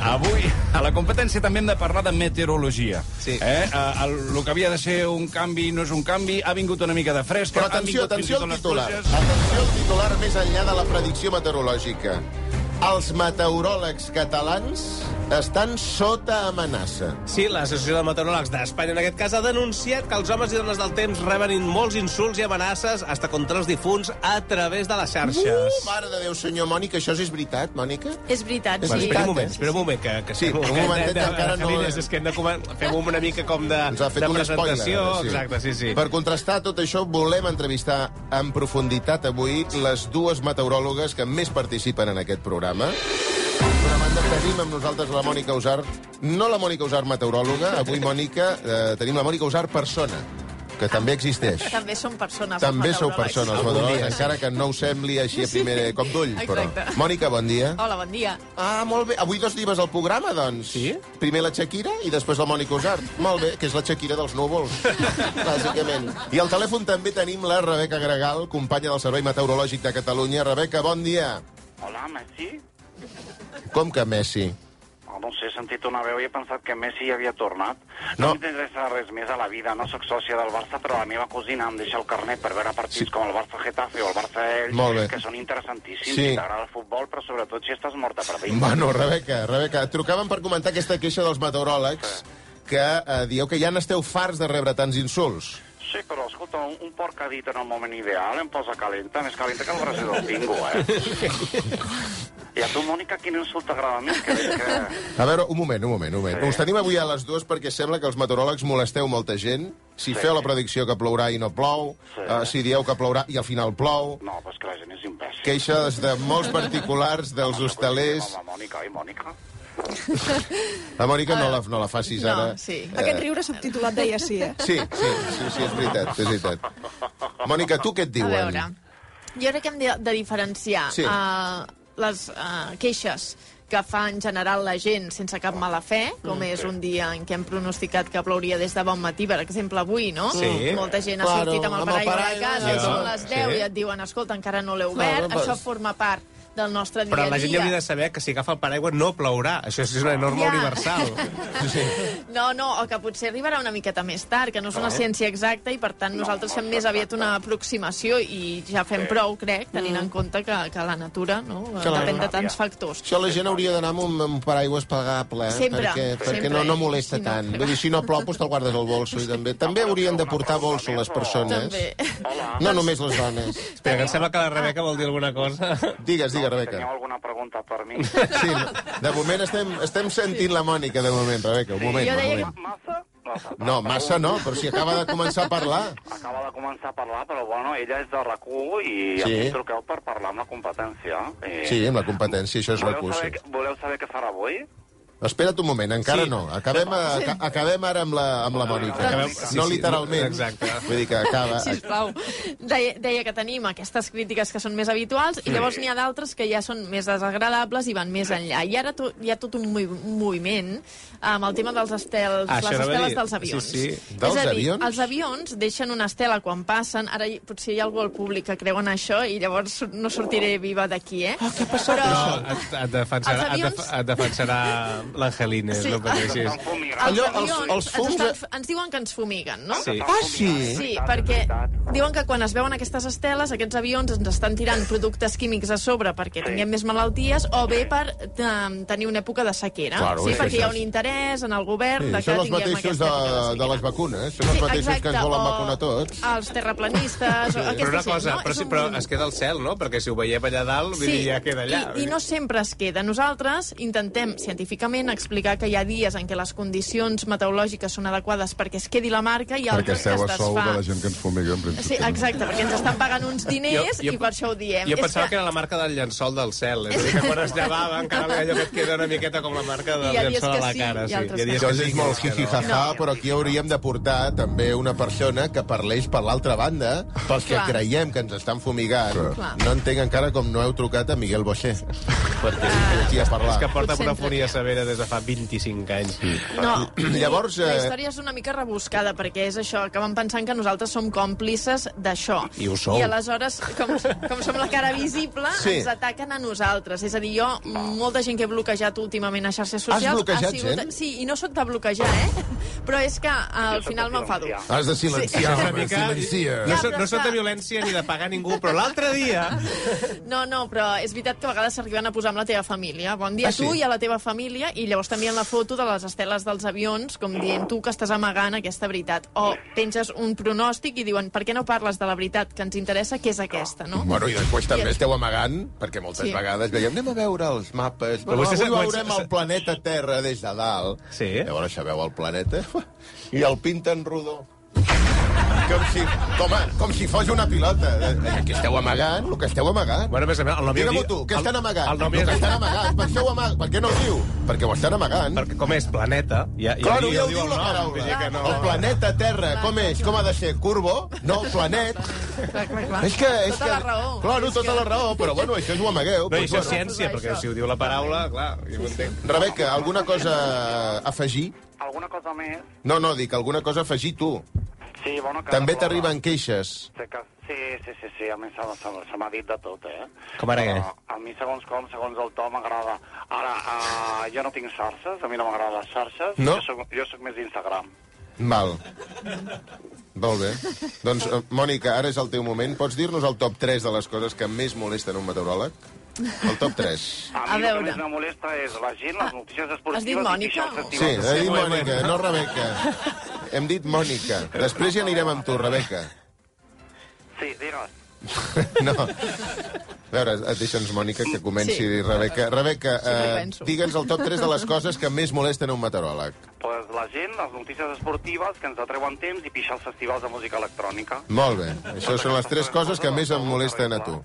avui a la competència també hem de parlar de meteorologia. Sí. Eh? Eh, el, el que havia de ser un canvi no és un canvi, ha vingut una mica de fresca... Però han atenció, vingut fins i atenció tot al les titular. pluges. Atenció al titular més enllà de la predicció meteorològica. Els meteoròlegs catalans estan sota amenaça. Sí, l'Associació de Meteoròlegs d'Espanya, en aquest cas, ha denunciat que els homes i dones del temps reben in- molts insults i amenaces hasta contra els difunts a través de les xarxes. Uh, mare de Déu, senyor Mònica, això és veritat, Mònica? És veritat, És sí. Espera veritat. un moment, eh? espera un moment, que, que Sí, estem- un que- momentet, de- de- encara no- Carines, és que hem de comen- fem una mica com de, Ens ha fet de un spoiler. eh, presentació. sí. Exacte, sí, sí. Per contrastar tot això, volem entrevistar en profunditat avui les dues meteoròlogues que més participen en aquest programa. D'una banda, tenim amb nosaltres la Mònica Usar, no la Mònica Usar meteoròloga, avui, Mònica, eh, tenim la Mònica Usar persona, que també existeix. També són persones. els També sou meteoròlegs. persones, meteoròlegs, encara que no us sembli així a primer cop d'ull. Però... Exacte. Mònica, bon dia. Hola, bon dia. Ah, molt bé. Avui dos divas al programa, doncs. Sí? Primer la Shakira i després la Mònica Usart. Molt bé, que és la Shakira dels núvols, bàsicament. I al telèfon també tenim la Rebeca Gregal, companya del Servei Meteorològic de Catalunya. Rebeca, bon dia. Hola, Messi? Com que Messi? Oh, no sé, he sentit una veu i he pensat que Messi ja havia tornat. No. No, no m'interessa res més a la vida. No sóc sòcia del Barça, però la meva cosina em deixa el carnet per veure partits sí. com el Barça-Getafe o el Barça-Elx, Molt bé. que són interessantíssims. Sí. Sí. T'agrada el futbol, però sobretot si estàs morta per dins. Bueno, Rebeca, Rebeca, et trucàvem per comentar aquesta queixa dels meteoròlegs que eh, dieu que ja n'esteu farts de rebre tants insults. Sí, però escolta, un, un porc ha dit en el moment ideal em posa calenta, més calenta que el braser del bingo, eh? I a tu, Mònica, quin insult t'agrada més? Que, veig que... A veure, un moment, un moment, un moment. Sí. Us tenim avui a les dues perquè sembla que els meteoròlegs molesteu molta gent. Si Sí. feu la predicció que plourà i no plou, Sí. eh, si dieu que plourà i al final plou, No, però és que la gent és imbècil. queixes de molts particulars, dels hostalers... Home, Mònica, oi, Mònica? La Mònica no la, no la facis No, ara. sí. Eh, Aquest riure subtitulat deia sí, eh? Sí, sí, sí, sí, és veritat, és veritat. Mònica, tu què et A diuen? veure, jo crec que hem de, de diferenciar Sí. eh, les eh, queixes que fa en general la gent sense cap mala fe, com Mm. és un dia en què hem pronosticat que plouria des de bon matí, per exemple avui, no? Sí. Molta gent ha Claro, sortit amb el amb el paraigua de paraigua, casa, i ja. són les 10 Sí. i et diuen, escolta, encara no l'he Claro, obert, però- això forma part del nostre dia Però a dia. la gent ja hauria de saber que si agafa el paraigua no plourà. Això és una norma Ja. universal. Sí. No, no, o que potser arribarà una miqueta més tard, que no és una ciència exacta i, per tant, No, nosaltres no fem és més aviat exacta. una aproximació i ja fem Sí. prou, crec, tenint en compte que, que la natura no, la depèn de natura. tants factors. Això la gent hauria d'anar amb un, amb un paraigües pagable, eh? Sempre, perquè, sempre. perquè no, no molesta Si no- tant. Vull dir, si no plou, doncs te'l guardes al bolso. I també també haurien de portar bolso les persones. També. Hola. No només les dones. Espera, que em sembla que la Rebeca vol dir alguna cosa. Digues, digues, Teniu Rebeca. alguna pregunta per mi? Sí, de moment estem, estem sentint la Mònica, de moment, Rebeca. Un moment, Jo un deia moment. Massa? No, massa no, però si acaba de començar a parlar. Acaba de començar a parlar, però bueno, ella és de RAC1 i Sí. sí. a mi em truqueu per parlar amb la competència. Eh, Sí, amb la competència, això és voleu, recurs. saber, voleu saber què farà avui? Espera't un moment, encara Sí. no. Acabem, a, aca- acabem ara amb la, amb la Mònica. Acabem- sí, No sí, literalment. exacte. Vull dir que acaba... Sisplau. Deia, deia que tenim aquestes crítiques que són més habituals i llavors n'hi ha d'altres que ja són més desagradables i van més enllà. I ara to, hi ha tot un movi- un moviment amb el tema dels estels, Ah, això les anava a esteles dir. dels avions. Sí, sí. Dels És a dir, avions? els avions deixen una estela quan passen. Ara hi- potser hi ha algú al públic que creu en això i llavors no sortiré viva d'aquí, eh? Oh, què ha passat, No, et, et defensarà, Els et, avions- def et defensarà l'Angelines, Sí. no pateixis. Doncs Estan fumigant. Els Allò, els- avions els fums- ens, estan, ens diuen que ens fumiguen, no? Sí. Ah, sí? Sí, Veritat, perquè veritat. diuen que quan es veuen aquestes esteles, aquests avions ens estan tirant productes químics a sobre perquè Sí. tinguem més malalties o bé per eh, tenir una època de sequera. Claro, sí, és perquè hi ha això. un interès en el govern Sí, de que són els tinguem mateixos aquesta de, època de de sequera. les vacunes, són els sí, mateixos exacte, que ens volen o Ah, vacunar tots. Els terraplanistes... O Però una aquesta cosa, gent, no? però, És sí, un- però es queda al cel, no? Perquè si ho veiem allà dalt, vull dir, ja queda allà. I, I no sempre es queda. Nosaltres intentem científicament explicar que hi ha dies en què les condicions meteorològiques són adequades perquè es quedi la marca i Perquè altres que esteu es a sou de desfà. la gent que ens fumiga, en principi. Sí, exacte, perquè ens estan pagant uns diners Jo- jo- i per això ho diem. Jo És pensava que... era la marca del llençol del cel. És a dir, que quan es llevava encara allò que et queda una miqueta com la marca del Hi ha dies llençol a que la sí, cara. i altres Hi ha dies Això que és sí, molt hi ha dies que no. hi-hi-ha-ha, però aquí hauríem de portar també una persona que parleix per l'altra banda, pels que Clar. creiem que ens estan fumigant. Clar. No entenc encara com no heu trucat a Miguel Boixer, perquè uh, sortia a parlar. És que porta Potser una furia entre- severa era des de fa 25 anys. No, Llavors, la eh, història és una mica rebuscada, perquè és això, que van pensant que nosaltres som còmplices d'això. I ho sou. I aleshores, com, com som la cara visible, Sí. sí. ens ataquen a nosaltres. És a dir, jo, molta gent que he bloquejat últimament a xarxes socials... Has bloquejat ha sigut, gent? Sí, i no sóc de bloquejar, eh? Però és que al Jo sóc final de m'enfado. silenciar. Has de silenciar, És sí, una home, mica- silencia. No, Ja, so, però no és sóc de que- violència ni de pagar ningú, però l'altre dia... No, no, però és veritat que a vegades s'arriben a posar amb la teva família. Bon dia Ah, a tu sí? i a la teva família, i llavors t'envien la foto de les esteles dels avions, com dient tu que estàs amagant aquesta veritat. O penges un pronòstic i diuen per què no parles de la veritat que ens interessa, que és aquesta, no? Bueno, i després també esteu amagant, perquè moltes sí. Sí. vegades veiem, anem a veure els mapes, Però però avui vostès- veurem vostès- el planeta Terra des de dalt. Sí. Llavors això veu el planeta i el pinten rodó. Com si, com, com si fos una pilota. Eh, El que esteu amagant, el que esteu amagant. Bueno, més a més, el nom... Digue-m'ho tu, què estan amagant? El nom el que és... estan amagant, per això ho amaguen. Per què no ho diu? Perquè ho estan amagant. Perquè com és planeta... Ja, Claro, ja ho el diu la nom, paraula. vull dir que no. El planeta Terra, com és? Com ha de ser? Curvo? No, planet. Clar, clar, clar. És que... És tota que... la raó. Claro, tota la raó, però bueno, això ho amagueu. No, i Doncs doncs, això eh. és bueno. ciència, perquè si ho diu la paraula, clar, jo ho entenc. Rebeca, alguna cosa a afegir? Alguna cosa més? No, no, dic, alguna cosa a afegir tu. Sí, bueno, que També ara plora. t'arriben queixes. Sé que- Sí, sí, sí, sí, a mi se, se, se m'ha dit de tot, eh? Com ara què? Però A mi, segons com, segons el to, m'agrada. Ara, uh, jo no tinc xarxes, a mi no m'agraden les xarxes. No? Jo, soc, jo soc més d'Instagram. Val. Molt bé. Doncs, eh, Mònica, ara és el teu moment. Pots dir-nos el top 3 de les coses que més molesten un meteoròleg? El top 3. A, A mi el veure. que més em molesta és la gent, les notícies has dit esportives... i Mònica? xarxes Sí, privades. he dit Mònica, no Rebeca. Hem dit Mònica. Després hi anirem amb tu, Rebeca. Sí, digues. No. A veure, deixa'ns, Mònica, que comenci Sí. sí. Rebeca. Rebeca, Sí, m'ho eh, penso. digue'ns el top 3 de les coses que més molesten un meteoròleg. Pues la gent, les notícies esportives que ens atreuen temps i pixar els festivals de música electrònica. Molt bé. Això són les tres coses que més em molesten a tu.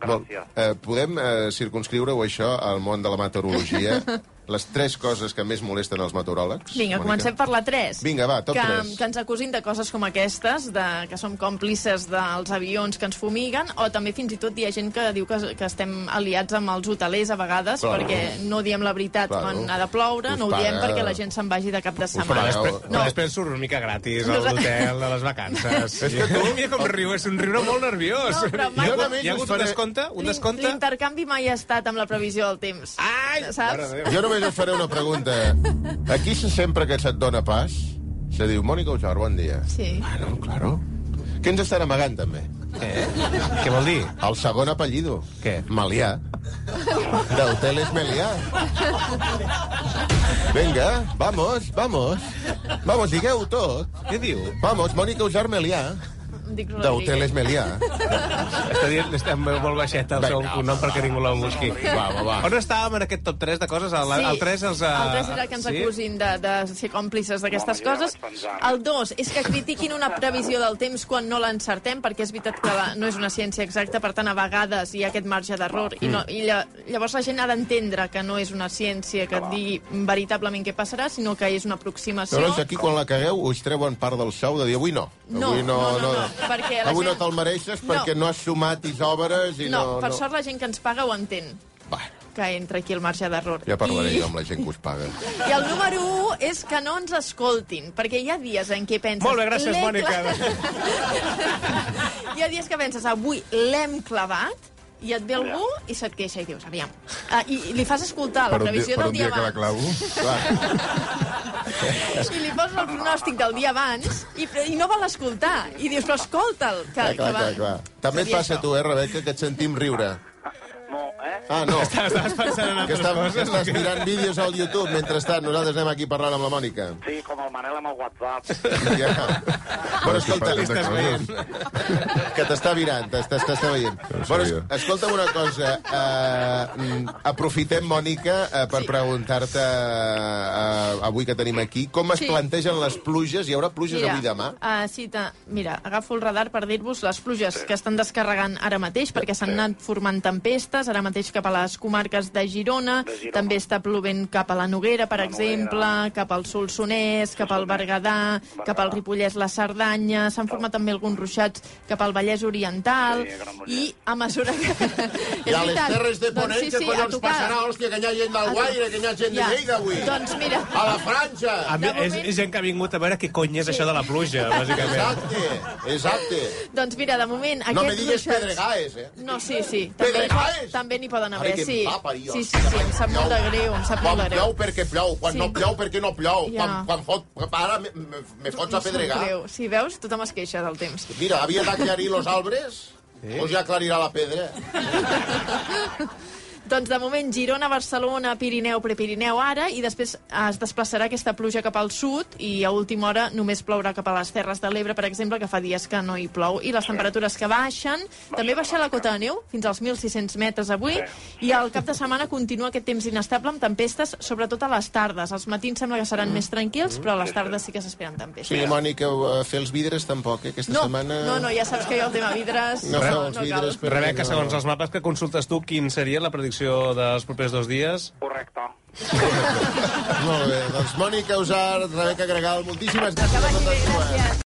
Vol- Gràcies. eh, podem eh, circunscriure-ho, això, al món de la meteorologia? Les tres coses que més molesten els meteoròlegs? Vinga, Mònica? comencem per la 3. Vinga, va, top que, tres. Que ens acusin de coses com aquestes, de, que som còmplices dels avions que ens fumiguen, o també fins i tot hi ha gent que diu que, que estem aliats amb els hotelers a vegades, Claro. claro. perquè no diem la veritat Claro. claro. quan ha de ploure, Us no ho diem paga. perquè la gent se'n vagi de cap de Però paga. setmana. després, No. no. després surt una mica gratis a l'hotel, a les vacances. És que tu... Mira com riu, és un riure molt nerviós. No, hi però ha mai- hagut, hi ha hagut un descompte? Un L'in- descompte? L'intercanvi mai ha estat amb la previsió del temps. Ai! Mare Saps? de Déu. Jo només et faré una pregunta. Aquí se sempre que se't dona pas, se diu, Mònica Ujar, bon dia. Sí. Bueno, claro. Què ens estan amagant, també? Què vol dir? El segon apellido. Què? Melià. Del és Melià. Vinga, vamos, vamos. Vamos, digueu tot. Què diu? Vamos, Mònica Ujar Melià. Em dic Del és Melià. Està dient, està molt baixeta el seu Vinga, cognom perquè ningú la busqui. Va, va, va. On estàvem en aquest top 3 de coses? El, el 3 els... eh, el 3 era que ens sí? acusin de, de ser còmplices d'aquestes Home, jo ja coses. vaig pensar. El 2 és que critiquin una previsió del temps quan no l'encertem, perquè és veritat que la, no és una ciència exacta, per tant, a vegades hi ha aquest marge d'error. I, no, i lla, llavors la gent ha d'entendre que no és una ciència que et digui veritablement què passarà, sinó que és una aproximació. Llavors, aquí, quan la cagueu, us treuen part del sou de dir avui no. No, avui no, no, no, perquè la avui no gent- te'l mereixes No. perquè no has sumat isòbares i no, no... per no. sort la gent que ens paga ho entén, Va, que entra aquí el marge d'error. ja parlaré I- jo amb la gent que us paga. I el número 1 és que no ens escoltin, perquè hi ha dies en què penses... Molt bé, gràcies, "L'he Mònica." clavat. hi ha dies que penses, avui l'hem clavat, i et ve algú i se't queixa i dius, aviam. Ah, i, I li fas escoltar la previsió del dia, abans. Clar. I li poses el pronòstic del dia abans i, pre- i no vol escoltar. I dius, però escolta'l. Que, Ah, Clar, clar, que va. clar, clar. També et Seria passa a això. tu, eh, Rebeca, que et sentim riure. No, eh? Ah, no. Estàs pensant en altres Que estàs, que coses? estàs mirant vídeos al YouTube mentrestant. Nosaltres anem aquí parlant amb la Mònica. Sí, com el Manel amb el WhatsApp. Ja. Però escolta, Li estàs veient. que t'està mirant, t'està t'està veient. Bueno, es- escolta'm una cosa. eh, mm, aprofitem, Mònica, eh, per preguntar-te, eh, avui que tenim aquí, com es Sí. plantegen les pluges? Hi haurà pluges avui demà? Uh, sí, ta, mira, agafo el radar per dir-vos les pluges que estan descarregant ara mateix, perquè s'han anat formant tempestes, ara mateix ploix cap a les comarques de Girona, De Girona. també està plovent cap a la Noguera, per La exemple, Noguera. cap al Solsonès, cap al Berguedà, cap al Ripollès, la Cerdanya, s'han format també alguns ruixats cap al Vallès Oriental, Sí, Granollers. i a mesura que... I a les Terres de Ponent, doncs, sí, sí, que a collons tocar. passarà, hòstia, que hi ha gent A del to- Guaire, que hi ha gent de Ja. Lleida, avui. Doncs mira... A la Franja. A mi, De moment- és, és gent que ha vingut a veure què cony és això de la pluja, bàsicament. Exacte, exacte. Doncs mira, de moment... No me aquests digues ruixats- pedregaes, eh? No, sí, sí. També, Pedregals! també n'hi poden haver, Ara que sí. em va parir, sí, sí, hòstia, sí, em sap molt de greu, em sap Quan molt de greu. plou perquè plou, quan Sí. no plou perquè no plou, Ja. quan, quan fot, ara me, me, me fots a Em sap pedregar. greu. Si veus, tothom es queixa del temps. Mira, havia d'aclarir los arbres, sí. o ja aclarirà la pedra. Doncs de moment Girona, Barcelona, Pirineu, Prepirineu ara i després es desplaçarà aquesta pluja cap al sud i a última hora només plourà cap a les Terres de l'Ebre, per exemple, que fa dies que no hi plou. I les temperatures que baixen, també baixa la cota de neu fins als 1.600 metres avui i al cap de setmana continua aquest temps inestable amb tempestes, sobretot a les tardes. Els matins sembla que seran més tranquils, però a les tardes Mm. sí que s'esperen tempestes. Sí, Mònica, eh, fer els vidres tampoc, eh? aquesta No, setmana... no, no, ja saps que jo el tema vidres... No, feu els cal. vidres, però... Rebeca, segons els mapes que consultes tu, quin seria la predicció dels propers dos dies? Correcte. Molt bé, doncs Mònica Usart, Rebeca Gregal, moltíssimes gràcies a totes dues.